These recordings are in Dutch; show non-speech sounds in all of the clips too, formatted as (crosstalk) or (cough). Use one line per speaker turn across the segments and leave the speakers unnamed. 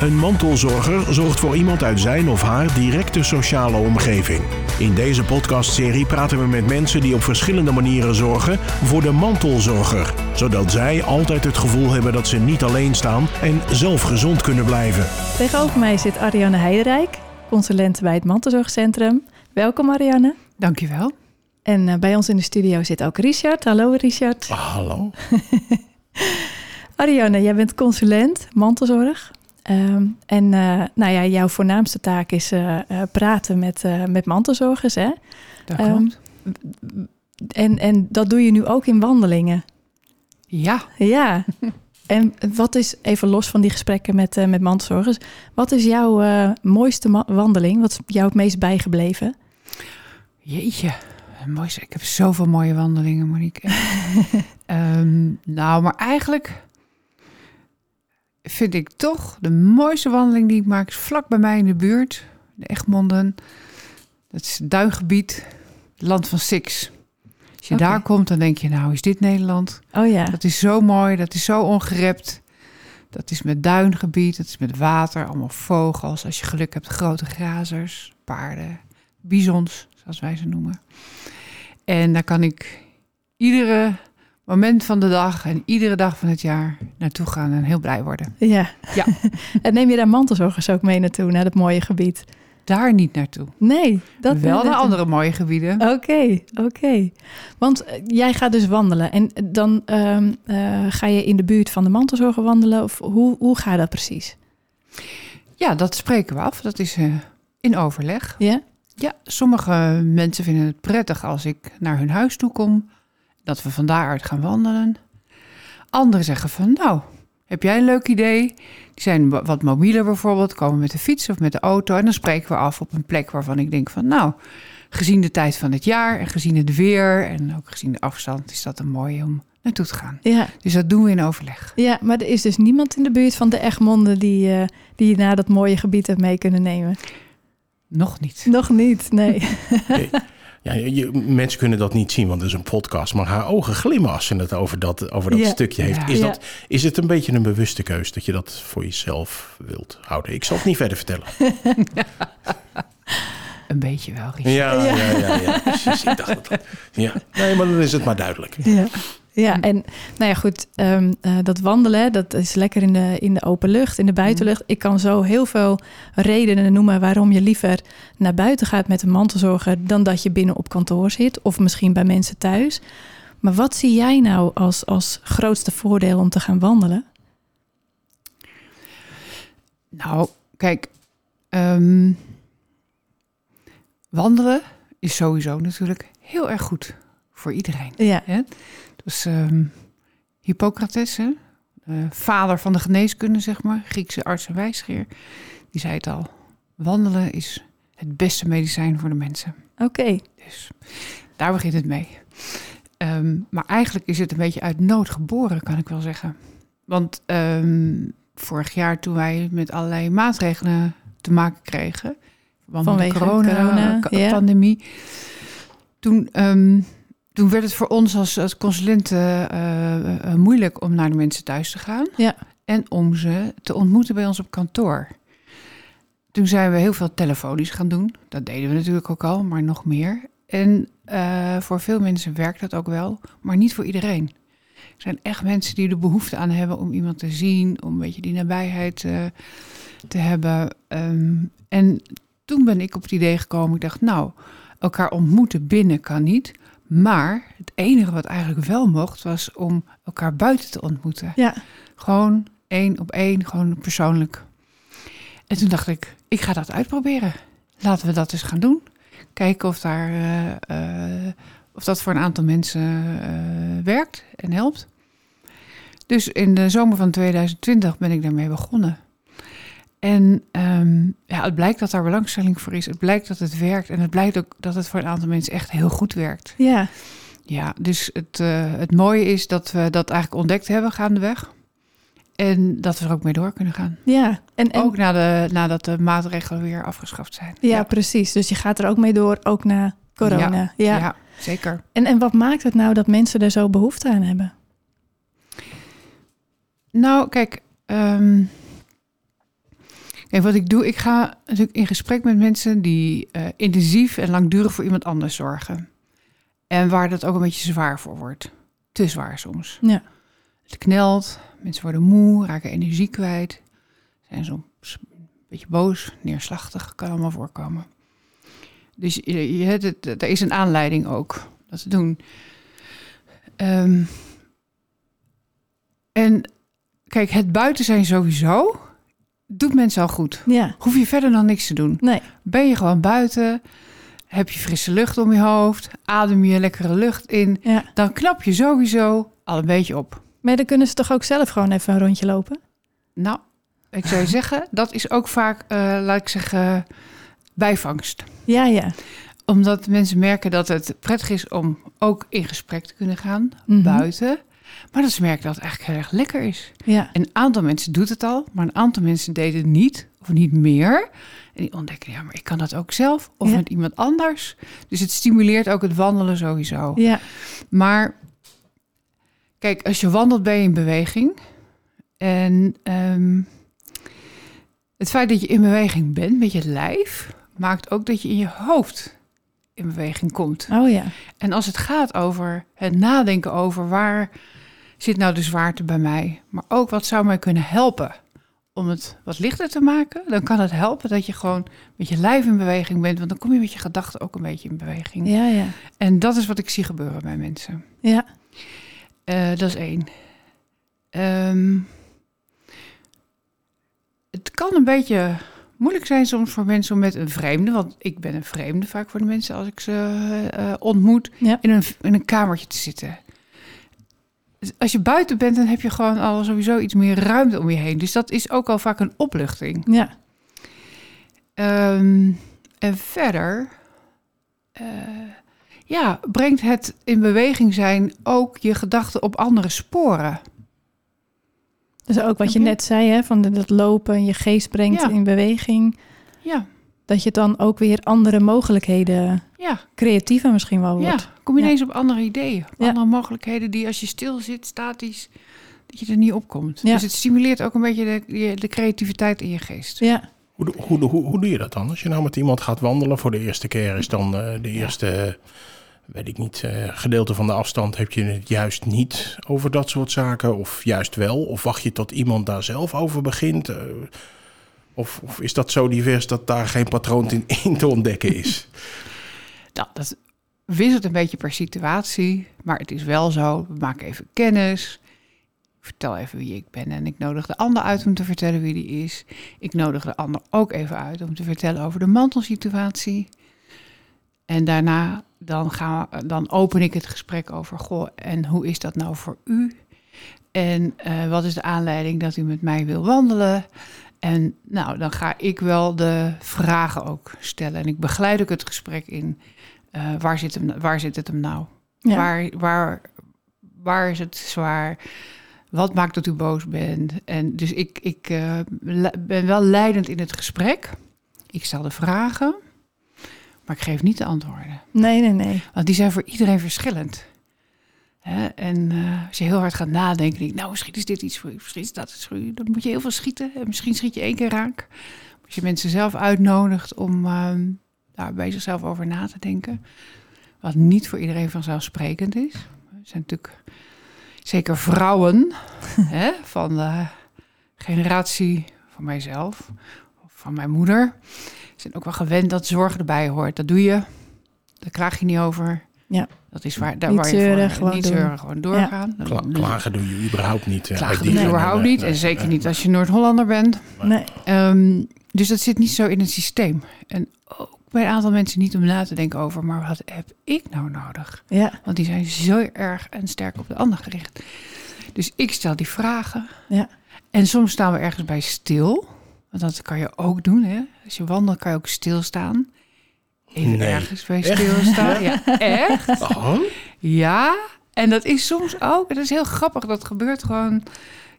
Een mantelzorger zorgt voor iemand uit zijn of haar directe sociale omgeving. In deze podcastserie praten we met mensen die op verschillende manieren zorgen voor de mantelzorger, zodat zij altijd het gevoel hebben dat ze niet alleen staan en zelf gezond kunnen blijven.
Tegenover mij zit Ariane Heiderijk, consulent bij het Mantelzorgcentrum. Welkom Ariane.
Dankjewel.
En eh, bij ons in de studio zit ook Richard. Hallo Richard.
Ah. Hallo.
Ariane, jij bent consulent mantelzorg. Ehm, en eh, nou ja, jouw voornaamste taak is eh, eh, praten met, eh, met mantelzorgers. Hè?
Dat
Ehm,
klopt.
En, en dat doe je nu ook in wandelingen.
ja,
Ja. En wat is, even los van die gesprekken met, eh, met mantelzorgers, wat is jouw eh, mooiste ma- wandeling? Wat is jou het meest bijgebleven?
jeetje. Mooi, ik heb zoveel mooie wandelingen, Monique. Ehm, nou, maar eigenlijk vind ik toch de mooiste wandeling die ik maak... is vlak bij mij in de buurt, de Egmonden. Dat is het duingebied, het land van Six. Als je
Oké.
daar komt, dan denk je, nou, is dit Nederland?
Oh ja.
Dat is zo mooi, dat is zo ongerept. Dat is met duingebied, dat is met water, allemaal vogels. Als je geluk hebt, grote grazers, paarden, bizons, zoals wij ze noemen. En daar kan ik iedere moment van de dag en iedere dag van het jaar naartoe gaan en heel blij worden.
Ja.
Ja.
(laughs) en neem je daar mantelzorgers ook mee naartoe, naar dat mooie gebied?
Daar niet naartoe.
Nee, dat
Wel
dat-
naar andere mooie gebieden.
Oké, oké. Want eh, jij gaat dus wandelen en dan ehm, eh, ga je in de buurt van de mantelzorger wandelen? Of hoe, hoe gaat dat precies?
Ja, dat spreken we af. Dat is eh, in overleg.
Ja?
Ja, sommige mensen vinden het prettig als ik naar hun huis toe kom, dat we van daaruit gaan wandelen. Anderen zeggen van, nou, heb jij een leuk idee? Die zijn wa- wat mobieler bijvoorbeeld, komen met de fiets of met de auto en dan spreken we af op een plek waarvan ik denk van, nou, gezien de tijd van het jaar en gezien het weer en ook gezien de afstand is dat een mooie om naartoe te gaan.
Ja,
Dus dat doen we in overleg.
ja, maar er is dus niemand in de buurt van de Egmonden die, eh, die je naar dat mooie gebied hebt mee kunnen nemen.
Nog niet.
Nog niet, (laughs) nee.
Ja, je, je- mensen kunnen dat niet zien, want het is een podcast. Maar haar ogen glimmen als ze het over dat, over dat
Ja.
stukje heeft.
Ja.
Is,
Ja.
dat, is het een beetje een bewuste keus dat je dat voor jezelf wilt houden? Ik zal het niet verder vertellen.
Een beetje wel, Richard.
Ja,
Ja.
ja, ja, ja, precies. Ik dacht dat. dat- Ja. Nee, maar dan is het maar duidelijk.
Ja. Ja, en nou ja, goed, ehm, eh, dat wandelen, dat is lekker in de, in de open lucht, in de buitenlucht. Ik kan zo heel veel redenen noemen waarom je liever naar buiten gaat met een mantelzorger dan dat je binnen op kantoor zit of misschien bij mensen thuis. Maar wat zie jij nou als, als grootste voordeel om te gaan wandelen?
Nou, kijk, ehm, wandelen is sowieso natuurlijk heel erg goed voor iedereen.
Ja,
Dus ehm, Hippocrates, hè? eh, vader van de geneeskunde, zeg maar, Griekse arts en wijsgeer, die zei het al: wandelen is het beste medicijn voor de mensen.
oké.
Dus daar begint het mee. Ehm, maar eigenlijk is het een beetje uit nood geboren, kan ik wel zeggen. Want ehm, vorig jaar toen wij met allerlei maatregelen te maken kregen... in verband met
Vanwege
de corona, eh,
corona,
ka-
ja.
pandemie... Toen, ehm, toen werd het voor ons als, als consulenten eh, eh, moeilijk om naar de mensen thuis te gaan...
Ja.
en om ze te ontmoeten bij ons op kantoor. Toen zijn we heel veel telefonisch gaan doen. Dat deden we natuurlijk ook al, maar nog meer. En eh, voor veel mensen werkt dat ook wel, maar niet voor iedereen. Er zijn echt mensen die er behoefte aan hebben om iemand te zien, om een beetje die nabijheid eh, te hebben. Ehm, en toen ben ik op het idee gekomen, ik dacht, nou, elkaar ontmoeten binnen kan niet. Maar het enige wat eigenlijk wel mocht, was om elkaar buiten te ontmoeten.
Ja,
Gewoon één op één, gewoon persoonlijk. En toen dacht ik, ik ga dat uitproberen. Laten we dat eens gaan doen. Kijken of, daar, eh, eh, of dat voor een aantal mensen eh, werkt en helpt. Dus in de zomer van 2020 ben ik daarmee begonnen. En ehm, ja, het blijkt dat daar belangstelling voor is. Het blijkt dat het werkt. En het blijkt ook dat het voor een aantal mensen echt heel goed werkt.
ja,
Ja, dus het, eh, het mooie is dat we dat eigenlijk ontdekt hebben gaandeweg. En dat we er ook mee door kunnen gaan.
ja. En, en,
Ook na de, nadat de maatregelen weer afgeschaft zijn.
ja, precies. Dus je gaat er ook mee door, ook na corona. Ja.
ja. zeker.
En, en wat maakt het nou dat mensen er zo behoefte aan hebben?
Nou, kijk, ehm, En wat ik doe, ik ga natuurlijk in gesprek met mensen die eh, intensief en langdurig voor iemand anders zorgen. En waar dat ook een beetje zwaar voor wordt. Te zwaar soms.
Ja.
Het knelt, mensen worden moe, raken energie kwijt, zijn soms een beetje boos, neerslachtig, kan allemaal voorkomen. Dus je, je, het- het- er is een aanleiding ook dat te doen. Ehm, en kijk, het buiten zijn sowieso doet mensen al goed.
Ja.
Hoef je verder dan niks te doen.
Nee.
Ben je gewoon buiten, heb je frisse lucht om je hoofd, adem je lekkere lucht in,
Ja.
dan knap je sowieso al een beetje op.
Maar dan kunnen ze toch ook zelf gewoon even een rondje lopen?
Nou,
(laughs)
ik zou je zeggen, dat is ook vaak, eh, laat ik zeggen, bijvangst.
Ja, ja.
Omdat mensen merken dat het prettig is om ook in gesprek te kunnen gaan
Mhm.
buiten. Maar dat ze merken dat het eigenlijk heel erg lekker is.
Ja.
Een aantal mensen doet het al, maar een aantal mensen deden het niet of niet meer. En die ontdekken, ja, maar ik kan dat ook zelf of
Ja.
met iemand anders. Dus het stimuleert ook het wandelen sowieso.
Ja.
Maar kijk, als je wandelt ben je in beweging. En ehm, het feit dat je in beweging bent met je lijf, maakt ook dat je in je hoofd in beweging komt.
Oh ja.
En als het gaat over het nadenken over waar zit nou de zwaarte bij mij, maar ook wat zou mij kunnen helpen om het wat lichter te maken, dan kan het helpen dat je gewoon met je lijf in beweging bent, want dan kom je met je gedachten ook een beetje in beweging.
Ja, ja.
En dat is wat ik zie gebeuren bij mensen.
Ja.
Eh, dat is één. Ehm, het kan een beetje moeilijk zijn soms voor mensen om met een vreemde, want ik ben een vreemde vaak voor de mensen als ik ze eh, eh, ontmoet,
Ja.
in, een, in een kamertje te zitten. Dus Als je buiten bent, dan heb je gewoon al sowieso iets meer ruimte om je heen. Dus dat is ook al vaak een opluchting.
Ja.
Ehm, en verder, eh, ja, brengt het in beweging zijn ook je gedachten op andere sporen.
Dus ook wat je
Oké.
net zei, hè, van de- dat lopen, je geest brengt
Ja.
in beweging.
Ja,
Dat je dan ook weer andere mogelijkheden,
ja,
creatiever misschien wel
ja.
wordt.
Kom je
Ja.
ineens op andere ideeën, op
Ja.
andere mogelijkheden die als je stil zit, statisch, dat je er niet op komt.
Ja.
Dus het stimuleert ook een beetje de, je- de creativiteit in je geest.
Ja.
Hoe, do- hoe, do- hoe, hoe doe je dat dan? Als je nou met iemand gaat wandelen voor de eerste keer, is dan eh, de eerste, eh, weet ik niet, eh, gedeelte van de afstand heb je het juist niet over dat soort zaken, of juist wel? Of wacht je tot iemand daar zelf over begint? eh, of, of is dat zo divers dat daar geen patroon in, (laughs) in te ontdekken is?
Nou, dat wisselt een beetje per situatie, maar het is wel zo. We maken even kennis. Ik vertel even wie ik ben en ik nodig de ander uit om te vertellen wie die is. Ik nodig de ander ook even uit om te vertellen over de mantelsituatie. En daarna dan, gaan we, dan open ik het gesprek over, goh, en hoe is dat nou voor u? En eh, wat is de aanleiding dat u met mij wil wandelen? En nou, dan ga ik wel de vragen ook stellen. En ik begeleid ook het gesprek in. eh, waar, zit hem, waar zit het hem nou?
Ja.
Waar, waar, waar is het zwaar? Wat maakt dat u boos bent? En dus ik, ik eh, le- ben wel leidend in het gesprek. Ik stel de vragen, maar ik geef niet de antwoorden.
Nee, nee, nee.
Want die zijn voor iedereen verschillend. Hè? En eh, als je heel hard gaat nadenken, denk ik, nou, misschien is dit iets voor u, misschien is dat iets voor u. Dan moet je heel veel schieten en misschien schiet je één keer raak. Als je mensen zelf uitnodigt om ehm, daar bij zichzelf over na te denken, wat niet voor iedereen vanzelfsprekend is. Er zijn natuurlijk zeker
(laughs)
vrouwen hè, van de generatie van mijzelf, of van mijn moeder, zijn ook wel gewend dat zorg erbij hoort. Dat doe je. Daar klaag je niet over.
Ja.
Dat is waar, daar
Niet
waar je
zeuren,
voor,
gewoon
niet
doen.
zeuren, gewoon doorgaan.
Kla- klagen doe je überhaupt niet. eh,
Klagen
uit
doe
die
je
zin.
überhaupt
Nee,
niet.
nee,
En zeker
nee.
niet als je Noord-Hollander bent.
Nee.
Ehm, dus dat zit niet zo in het systeem. En ook bij een aantal mensen niet om na te denken over, maar wat heb ik nou nodig?
Ja.
Want die zijn zo erg en sterk op de ander gericht. Dus ik stel die vragen.
Ja.
En soms staan we ergens bij stil. Want dat kan je ook doen. Hè? Als je wandelt kan je ook stilstaan. Even
Nee.
ergens bij
Echt? (laughs)
stilstaan. Ja, echt.
Oh,
Ja. En dat is soms ook. Dat is heel grappig. Dat gebeurt gewoon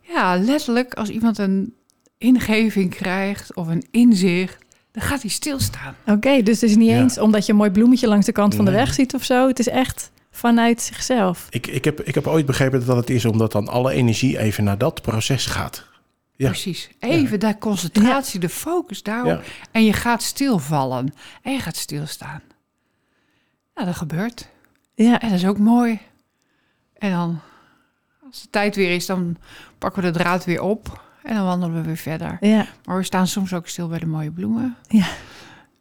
ja, letterlijk. Als iemand een ingeving krijgt of een inzicht. Dan gaat hij stilstaan.
Oké, dus het is niet
Ja.
eens omdat je een mooi bloemetje langs de kant van de
Nee.
weg ziet of zo. Het is echt vanuit zichzelf.
ik, ik, heb, ik heb ooit begrepen dat het is omdat dan alle energie even naar dat proces gaat. Ja.
Precies. Even de concentratie, de focus daarop.
Ja.
En je gaat stilvallen. En je gaat stilstaan. Nou, dat gebeurt.
Ja,
En dat is ook mooi. En dan, als de tijd weer is, dan pakken we de draad weer op. En dan wandelen we weer verder.
ja,
Maar we staan soms ook stil bij de mooie bloemen.
Ja.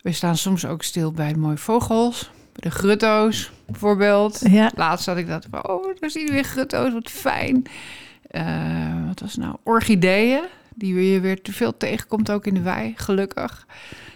We staan soms ook stil bij de mooie vogels. Bij de grutto's, bijvoorbeeld.
ja,
Laatst had ik dat van, oh, we zien weer grutto's, wat fijn. Eh, wat was het nou? Orchideeën, die je weer te veel tegenkomt ook in de wei, gelukkig.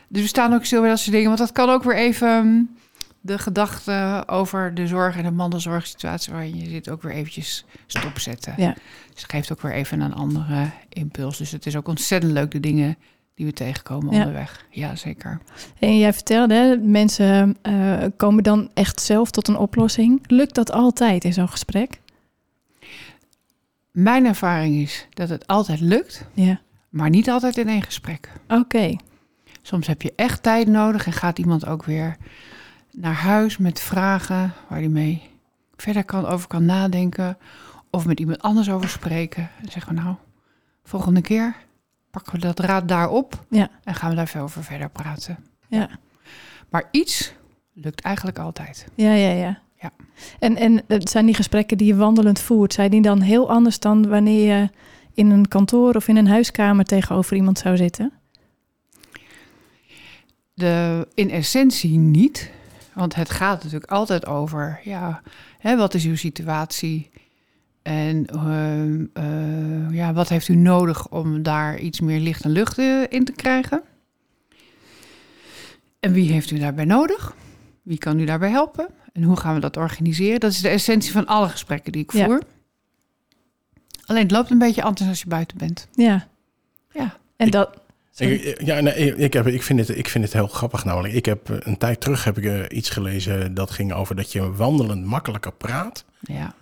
Dus we staan ook stil bij dat soort dingen, want dat kan ook weer even mm, de gedachte over de zorg en de mantelzorgsituatie waarin je zit ook weer eventjes stopzetten.
Ja.
Dus het geeft ook weer even een andere impuls. Dus het is ook ontzettend leuk de dingen die we tegenkomen
Ja.
onderweg. Ja, zeker.
En jij vertelde, hè, mensen eh, komen dan echt zelf tot een oplossing. Lukt dat altijd in zo'n gesprek?
Mijn ervaring is dat het altijd lukt,
Ja.
maar niet altijd in één gesprek.
Oké.
Soms heb je echt tijd nodig en gaat iemand ook weer naar huis met vragen waar hij mee verder kan, over kan nadenken. Of met iemand anders over spreken. En zeggen we nou, volgende keer pakken we dat raad daarop
Ja.
en gaan we daar veel over verder praten.
Ja.
Maar iets lukt eigenlijk altijd.
Ja, ja, ja.
Ja.
En, en eh, zijn die gesprekken die je wandelend voert, zijn die dan heel anders dan wanneer je in een kantoor of in een huiskamer tegenover iemand zou zitten?
De, in essentie niet. Want het gaat natuurlijk altijd over, ja, hè, wat is uw situatie? En ehm, eh, ja, wat heeft u nodig om daar iets meer licht en lucht eh, in te krijgen? En wie heeft u daarbij nodig? Wie kan u daarbij helpen? En hoe gaan we dat organiseren? Dat is de essentie van alle gesprekken die ik
Ja.
voer. Alleen het loopt een beetje anders als je buiten bent.
Ja.
Ja.
En
Ik-
dat. Sorry.
Ik, ja, nee, ik, ik heb, ik, vind het, ik vind het heel grappig namelijk. Ik heb eh, een tijd terug heb ik eh, iets gelezen dat ging over dat je wandelend makkelijker praat
Ja.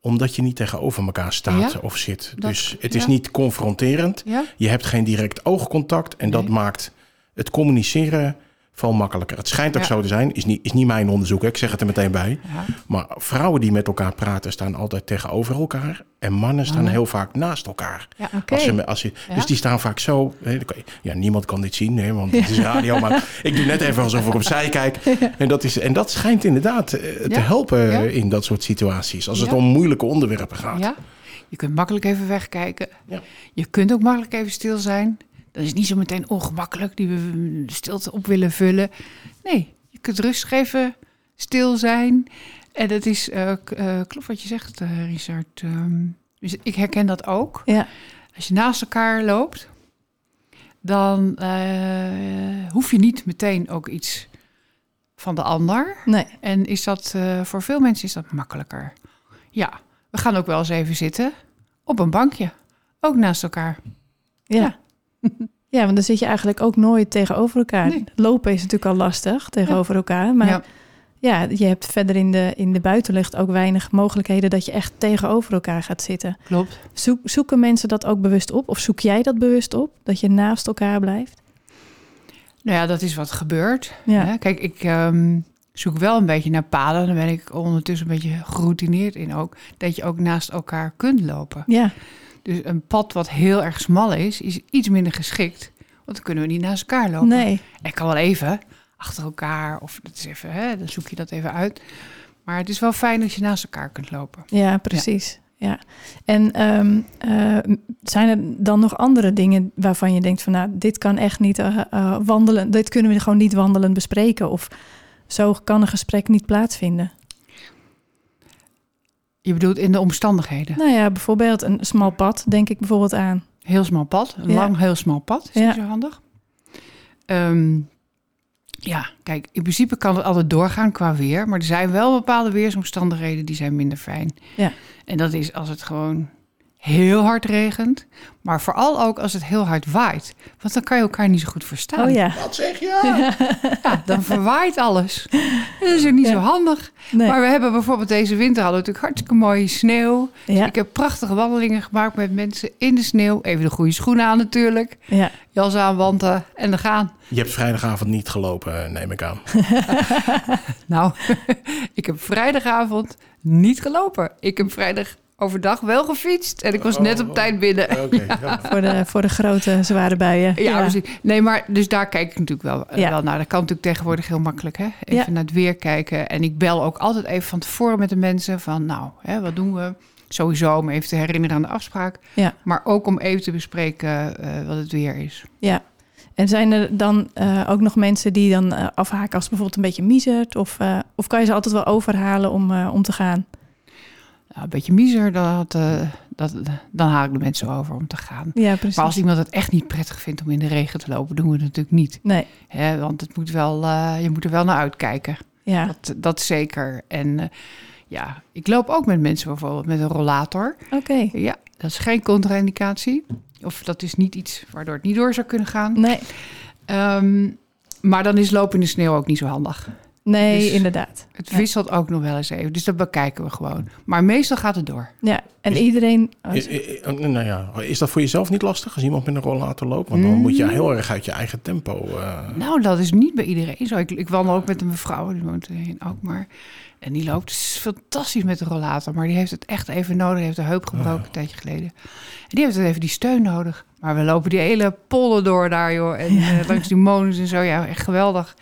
omdat je niet tegenover elkaar staat
Ja,
of zit.
dat-
dus het is
ja.
niet confronterend.
Ja?
Je hebt geen direct oogcontact en dat
Nee.
maakt het communiceren veel makkelijker. Het schijnt ook
Ja.
zo te zijn, is niet, is niet mijn onderzoek, hè. ik zeg het er meteen bij.
Ja.
Maar vrouwen die met elkaar praten staan altijd tegenover elkaar. En mannen staan
Mannen.
heel vaak naast elkaar.
ja.
Oké.
Als ze- als ze-
Ja.
Dus die staan vaak zo. hè, dan kan je- ja, niemand kan dit zien, hè, want het is radio. Maar
(laughs)
ik doe net even alsof ik opzij kijk. En dat, is, en dat schijnt inderdaad eh, te
Ja.
helpen eh,
Ja.
in dat soort situaties. Als het
Ja.
om moeilijke onderwerpen gaat.
Ja, je kunt makkelijk even wegkijken.
Ja.
Je kunt ook makkelijk even stil zijn. Dat is niet zo meteen ongemakkelijk die we de stilte op willen vullen. Nee, je kunt rustig even stil zijn. En dat is, eh, k- eh, klopt wat je zegt, eh Richard. Ehm, dus ik herken dat ook.
Ja.
Als je naast elkaar loopt, dan eh, hoef je niet meteen ook iets van de ander.
Nee.
En is dat eh, voor veel mensen is dat makkelijker? Ja, we gaan ook wel eens even zitten op een bankje, ook naast elkaar.
Ja.
Ja.
(laughs) Ja, want dan zit je eigenlijk ook nooit tegenover elkaar.
Nee.
Lopen is natuurlijk al lastig tegenover elkaar. Maar ja.
Ja.
je hebt verder in de, in de buitenlucht ook weinig mogelijkheden dat je echt tegenover elkaar gaat zitten.
Klopt.
Zoek, zoeken mensen dat ook bewust op? Of zoek jij dat bewust op? Dat je naast elkaar blijft?
Nou ja, dat is wat gebeurt.
Ja.
Hè? Kijk, ik ehm, zoek wel een beetje naar paden. Daar ben ik ondertussen een beetje geroutineerd in ook. Dat je ook naast elkaar kunt lopen.
Ja.
Dus een pad wat heel erg smal is, is iets minder geschikt. Want dan kunnen we niet naast elkaar lopen.
Nee.
Ik kan wel even achter elkaar. Of dat is even, hè, dan zoek je dat even uit. Maar het is wel fijn dat je naast elkaar kunt lopen.
Ja, precies. Ja. En ehm, eh, zijn er dan nog andere dingen waarvan je denkt van nou, dit kan echt niet eh, eh, wandelen. Dit kunnen we gewoon niet wandelen bespreken. Of zo kan een gesprek niet plaatsvinden.
Je bedoelt in de omstandigheden.
Nou ja, bijvoorbeeld een smal pad, denk ik bijvoorbeeld aan.
Heel smal pad, een
Ja.
lang heel smal pad. Is
Ja.
niet zo handig. Ehm, ja, kijk, in principe kan het altijd doorgaan qua weer. Maar er zijn wel bepaalde weersomstandigheden die zijn minder fijn.
Ja.
En dat is als het gewoon heel hard regent. Maar vooral ook als het heel hard waait. Want dan kan je elkaar niet zo goed verstaan.
Oh ja,
Wat zeg je?
(laughs) Ja, dan verwaait
(laughs)
alles. Dat is ook niet
Ja.
zo handig.
nee.
Maar we hebben bijvoorbeeld deze winter hadden we natuurlijk hartstikke mooie sneeuw.
ja,
Ik heb prachtige wandelingen gemaakt met mensen in de sneeuw. Even de goede schoenen aan natuurlijk.
ja,
Jas aan, wanten en dan gaan.
Je hebt vrijdagavond niet gelopen, eh, neem ik
(laughs)
aan.
Nou, ik heb vrijdagavond niet gelopen. Ik heb vrijdag overdag wel gefietst. En ik was net op tijd binnen.
Oké. ja.
voor, de, voor de grote zware buien.
(laughs) Ja, precies. Nee, maar dus daar kijk ik natuurlijk wel, eh,
Ja.
wel naar. Dat kan natuurlijk tegenwoordig heel makkelijk, hè? Even
Ja.
naar het weer kijken. En ik bel ook altijd even van tevoren met de mensen van... nou, hè, wat doen we? Sowieso om even te herinneren aan de afspraak.
Ja.
Maar ook om even te bespreken eh, wat het weer is.
Ja. En zijn er dan eh, ook nog mensen die dan eh, afhaken als het bijvoorbeeld een beetje miezert? Of, eh, of kan je ze altijd wel overhalen om, eh, om te gaan?
Nou, een beetje miser, dat, eh, dat, dan haal ik de mensen over om te gaan.
Ja, precies.
Maar als iemand het echt niet prettig vindt om in de regen te lopen... doen we het natuurlijk niet.
Nee,
Hè? Want het moet wel, eh, je moet er wel naar uitkijken.
ja.
Dat, dat zeker. En eh, ja, ik loop ook met mensen bijvoorbeeld met een rollator.
Oké.
Ja, dat is geen contra-indicatie. Of dat is niet iets waardoor het niet door zou kunnen gaan.
Nee,
Ehm, maar dan is lopen in de sneeuw ook niet zo handig.
nee
Dus-
inderdaad.
Het
Ja.
wisselt ook nog wel eens even. Dus dat bekijken we gewoon. Maar meestal gaat het door.
Ja, en
Is-
iedereen...
Eh,
oh,
I- I- I- nou ja, is dat voor jezelf niet lastig als iemand met een rollator loopt? Want
Mm.
dan moet je heel erg uit je eigen tempo. eh,
Nou, dat is niet bij iedereen zo. Ik, ik wandel ook met een mevrouw, die woont in Alkmaar. En die loopt s- fantastisch met de rollator. Maar die heeft het echt even nodig. Die heeft de heup gebroken een tijdje geleden. En die heeft het even die steun nodig. Maar we lopen die hele pollen door daar, joh. En eh, langs die molens en zo. Ja, echt geweldig.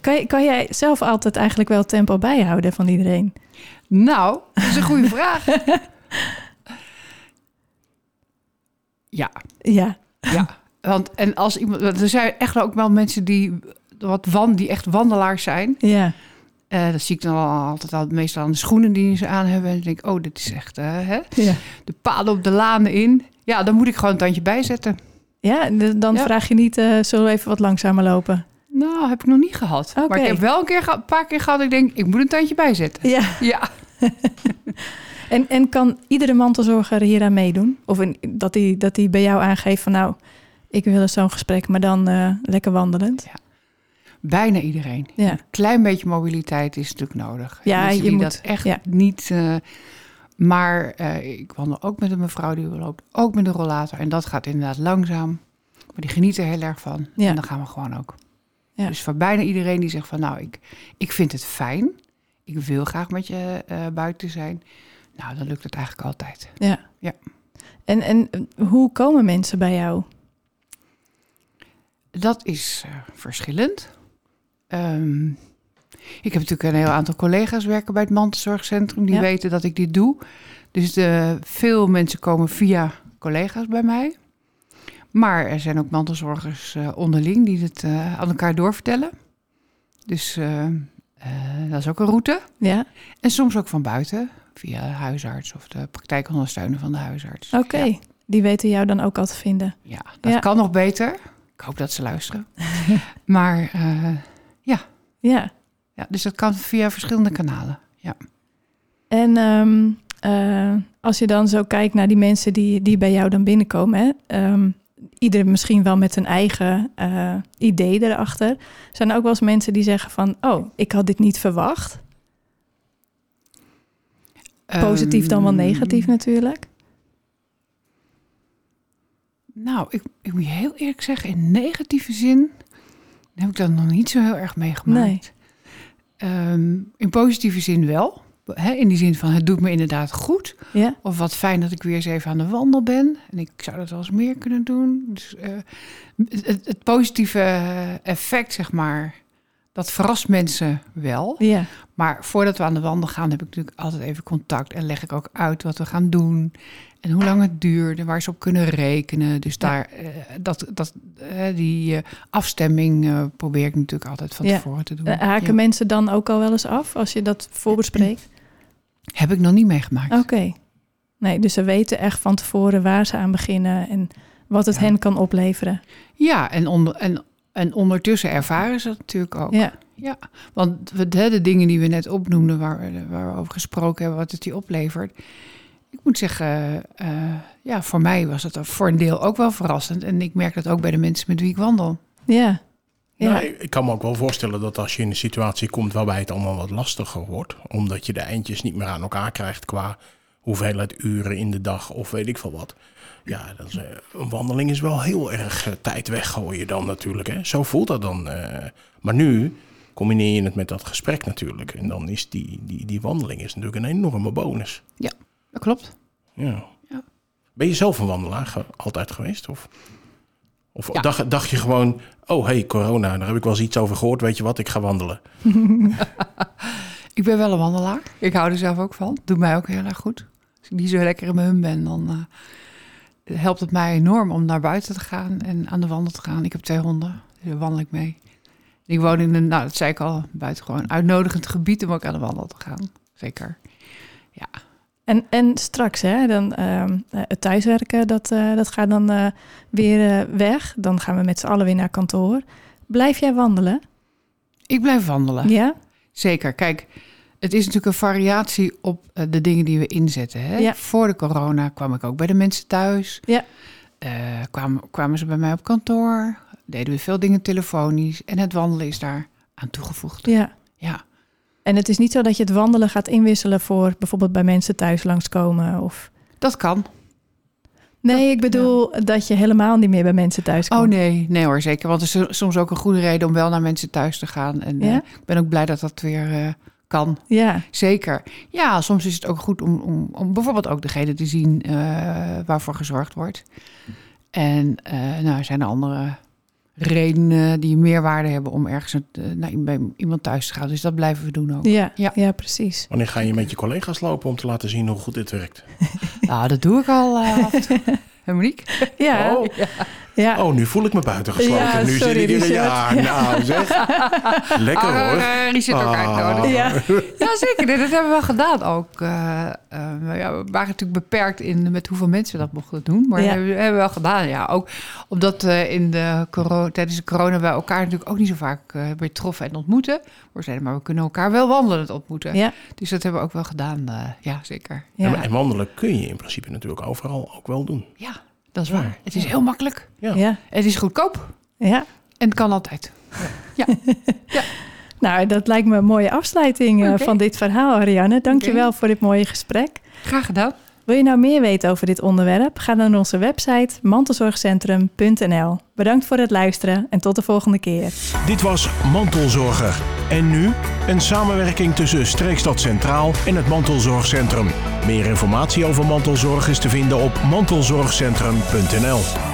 kan, je- kan jij zelf altijd eigenlijk wel tempo bijhouden van iedereen?
Nou, dat is een goede vraag. Ja,
Ja,
ja. Want en als iemand, want er zijn echt ook wel mensen die, wat wan, die echt wandelaars zijn.
ja.
Eh, dat zie ik dan al- altijd al, meestal aan de schoenen die ze aan hebben. En dan denk ik, oh, dit is echt eh, hè?
Ja,
de paden op de lanen in. Ja, dan moet ik gewoon een tandje bijzetten.
ja en de- dan
Ja.
vraag je niet, eh, zullen we even wat langzamer lopen?
Nou, heb ik nog niet gehad. Maar
Oké.
ik heb wel een, keer, geha- een paar keer gehad. dat Ik denk, ik moet een tandje bijzetten.
Ja,
Ja,
en, en kan iedere mantelzorger hieraan meedoen? Of in, dat die, dat die bij jou aangeeft van nou, ik wil eens zo'n gesprek, maar dan eh, lekker wandelend.
bijna iedereen.
Ja,
Klein beetje mobiliteit is natuurlijk nodig.
Ja,
Mensen
je
die
moet-
dat echt
ja.
niet. eh, maar eh, ik wandel ook met een mevrouw die loopt ook met een rollator. En dat gaat inderdaad langzaam. Maar die geniet er heel erg van.
Ja.
En dan gaan we gewoon ook.
Ja.
Dus voor bijna iedereen die zegt van nou, ik, ik vind het fijn. Ik wil graag met je eh, buiten zijn. Nou, dan lukt het eigenlijk altijd.
ja.
Ja.
En, en eh, hoe komen mensen bij jou?
Dat is eh, verschillend. Ehm, ik heb natuurlijk een heel aantal collega's werken bij het mantelzorgcentrum. Die
Ja.
weten dat ik dit doe. Dus de, veel mensen komen via collega's bij mij. Maar er zijn ook mantelzorgers eh, onderling die het eh, aan elkaar doorvertellen. Dus eh, eh, dat is ook een route.
Ja,
En soms ook van buiten, via de huisarts of de praktijkondersteuner van de huisarts.
oké. Die weten jou dan ook al te vinden.
Ja, dat
Ja.
kan nog beter. Ik hoop dat
(laughs)
ze luisteren. maar eh,
Ja.
ja, dus dat kan via verschillende kanalen.
En ehm, eh, als je dan zo kijkt naar die mensen die, die bij jou dan binnenkomen, hè, ehm, ieder misschien wel met hun eigen eh, idee erachter, zijn er ook wel eens mensen die zeggen van, oh, ik had dit niet verwacht. Positief dan wel
Ehm,
negatief natuurlijk.
Nou, ik, ik moet je heel eerlijk zeggen, in negatieve zin heb ik dat nog niet zo heel erg meegemaakt.
Nee.
Ehm, in positieve zin wel. Hè, in die zin van het doet me inderdaad goed.
Ja,
Of wat fijn dat ik weer eens even aan de wandel ben. En ik zou dat wel eens meer kunnen doen. Dus, eh, het, het- het positieve effect, zeg maar, dat verrast mensen wel.
ja,
Maar voordat we aan de wandel gaan, heb ik natuurlijk altijd even contact. En leg ik ook uit wat we gaan doen. En hoe lang het duurt en waar ze op kunnen rekenen. Dus
Ja.
daar, eh, dat, dat, eh, die eh, afstemming eh, probeer ik natuurlijk altijd van
Ja.
tevoren te doen.
Eh, haken
Ja.
mensen dan ook al wel eens af als je dat voorbespreekt?
Heb ik nog niet meegemaakt.
Oké. Nee, dus ze weten echt van tevoren waar ze aan beginnen en wat het
Ja.
hen kan opleveren.
Ja, en, onder, en, en ondertussen ervaren ze dat natuurlijk ook.
Ja,
Want we- de, de dingen die we net opnoemden, waar we, waar we over gesproken hebben, wat het die oplevert. Ik moet zeggen, eh, ja, voor mij was het voor een deel ook wel verrassend. En ik merk dat ook bij de mensen met wie ik wandel.
ja, ja.
Nou, ik ik kan me ook wel voorstellen dat als je in een situatie komt waarbij het allemaal wat lastiger wordt, omdat je de eindjes niet meer aan elkaar krijgt qua hoeveelheid uren in de dag of weet ik veel wat. Ja, dat is, eh, een wandeling is wel heel erg eh, tijd weggooien dan natuurlijk. Hè? Zo voelt dat dan. eh. maar nu combineer je het met dat gesprek natuurlijk. En dan is die, die, die wandeling is natuurlijk een enorme bonus.
Dat klopt.
Ja.
Ja.
Ben je zelf een wandelaar ge- altijd geweest? Of, of
Ja.
dacht, dacht je gewoon, oh hey, corona, daar heb ik wel eens iets over gehoord. Weet je wat, ik ga wandelen.
Ik ben wel een wandelaar. Ik hou er zelf ook van. Doet mij ook heel erg goed. Als ik niet zo lekker in mijn hum ben, dan eh, helpt het mij enorm om naar buiten te gaan en aan de wandel te gaan. Ik heb twee honden, dus daar wandel ik mee. Ik woon in een, nou dat zei ik al, buitengewoon uitnodigend gebied om ook aan de wandel te gaan. Zeker.
En, en straks, hè, dan, ehm, eh, het thuiswerken, dat, eh, dat gaat dan eh, weer eh, weg. Dan gaan we met z'n allen weer naar kantoor. Blijf jij wandelen?
Ik blijf wandelen.
Ja?
Zeker. Kijk, het is natuurlijk een variatie op eh, de dingen die we inzetten. Hè?
Ja.
Voor de corona kwam ik ook bij de mensen thuis.
Ja.
Eh, kwamen, kwamen ze bij mij op kantoor. Deden we veel dingen telefonisch. En het wandelen is daar aan toegevoegd.
Ja.
Ja.
En het is niet zo dat je het wandelen gaat inwisselen voor bijvoorbeeld bij mensen thuis langskomen of...
Dat kan.
Nee, ik bedoel dat je helemaal niet meer bij mensen thuis komt.
Oh nee, nee hoor, zeker. Want er is soms ook een goede reden om wel naar mensen thuis te gaan. En eh,
Ja?
ik ben ook blij dat dat weer eh, kan.
Ja,
Zeker. Ja, soms is het ook goed om, om, om bijvoorbeeld ook degene te zien eh, waarvoor gezorgd wordt. En eh, nou, er zijn er andere redenen die meerwaarde hebben om ergens eh, naar i- bij iemand thuis te gaan. Dus dat blijven we doen ook.
ja, ja.
Ja.
precies.
Wanneer ga je met je collega's lopen om te laten zien hoe goed dit werkt?
Nou, dat doe ik al eh, (laughs) af en toe. Hè, Monique?
Ja,
Oh,
ja.
oh, nu voel ik me buitengesloten.
Ja,
nu
sorry,
zit ik hier,
Richard. (laughs)
ja, nou zeg. Lekker hoor.
Ah, Richard ook
Ah.
uitnodigen.
Oh. Ja.
Ja, zeker. Nee, dat hebben we wel gedaan ook. Eh, eh, ja, we waren natuurlijk beperkt in met hoeveel mensen we dat mochten doen. Maar
Ja.
dat hebben we- hebben we wel gedaan, ja. Ook omdat eh, in de coro- tijdens de corona we elkaar natuurlijk ook niet zo vaak eh, weer troffen en ontmoeten. We zeiden, maar we kunnen elkaar wel wandelend ontmoeten.
Ja.
Dus dat hebben we ook wel gedaan, eh, ja, zeker.
En, en wandelen kun je in principe natuurlijk overal ook wel doen.
Ja, dat is
Ja.
waar. Het is heel makkelijk.
Ja.
ja,
Het is goedkoop
ja.
en het kan altijd.
Nou, dat lijkt me een mooie afsluiting eh,
Oké.
van dit verhaal, Ariane. Dankjewel wel voor dit mooie gesprek.
Graag gedaan.
Wil je nou meer weten over dit onderwerp? Ga dan naar onze website mantelzorgcentrum.nl. Bedankt voor het luisteren en tot de volgende keer.
Dit was Mantelzorger. En nu een samenwerking tussen Streekstad Centraal en het Mantelzorgcentrum. Meer informatie over mantelzorg is te vinden op mantelzorgcentrum.nl.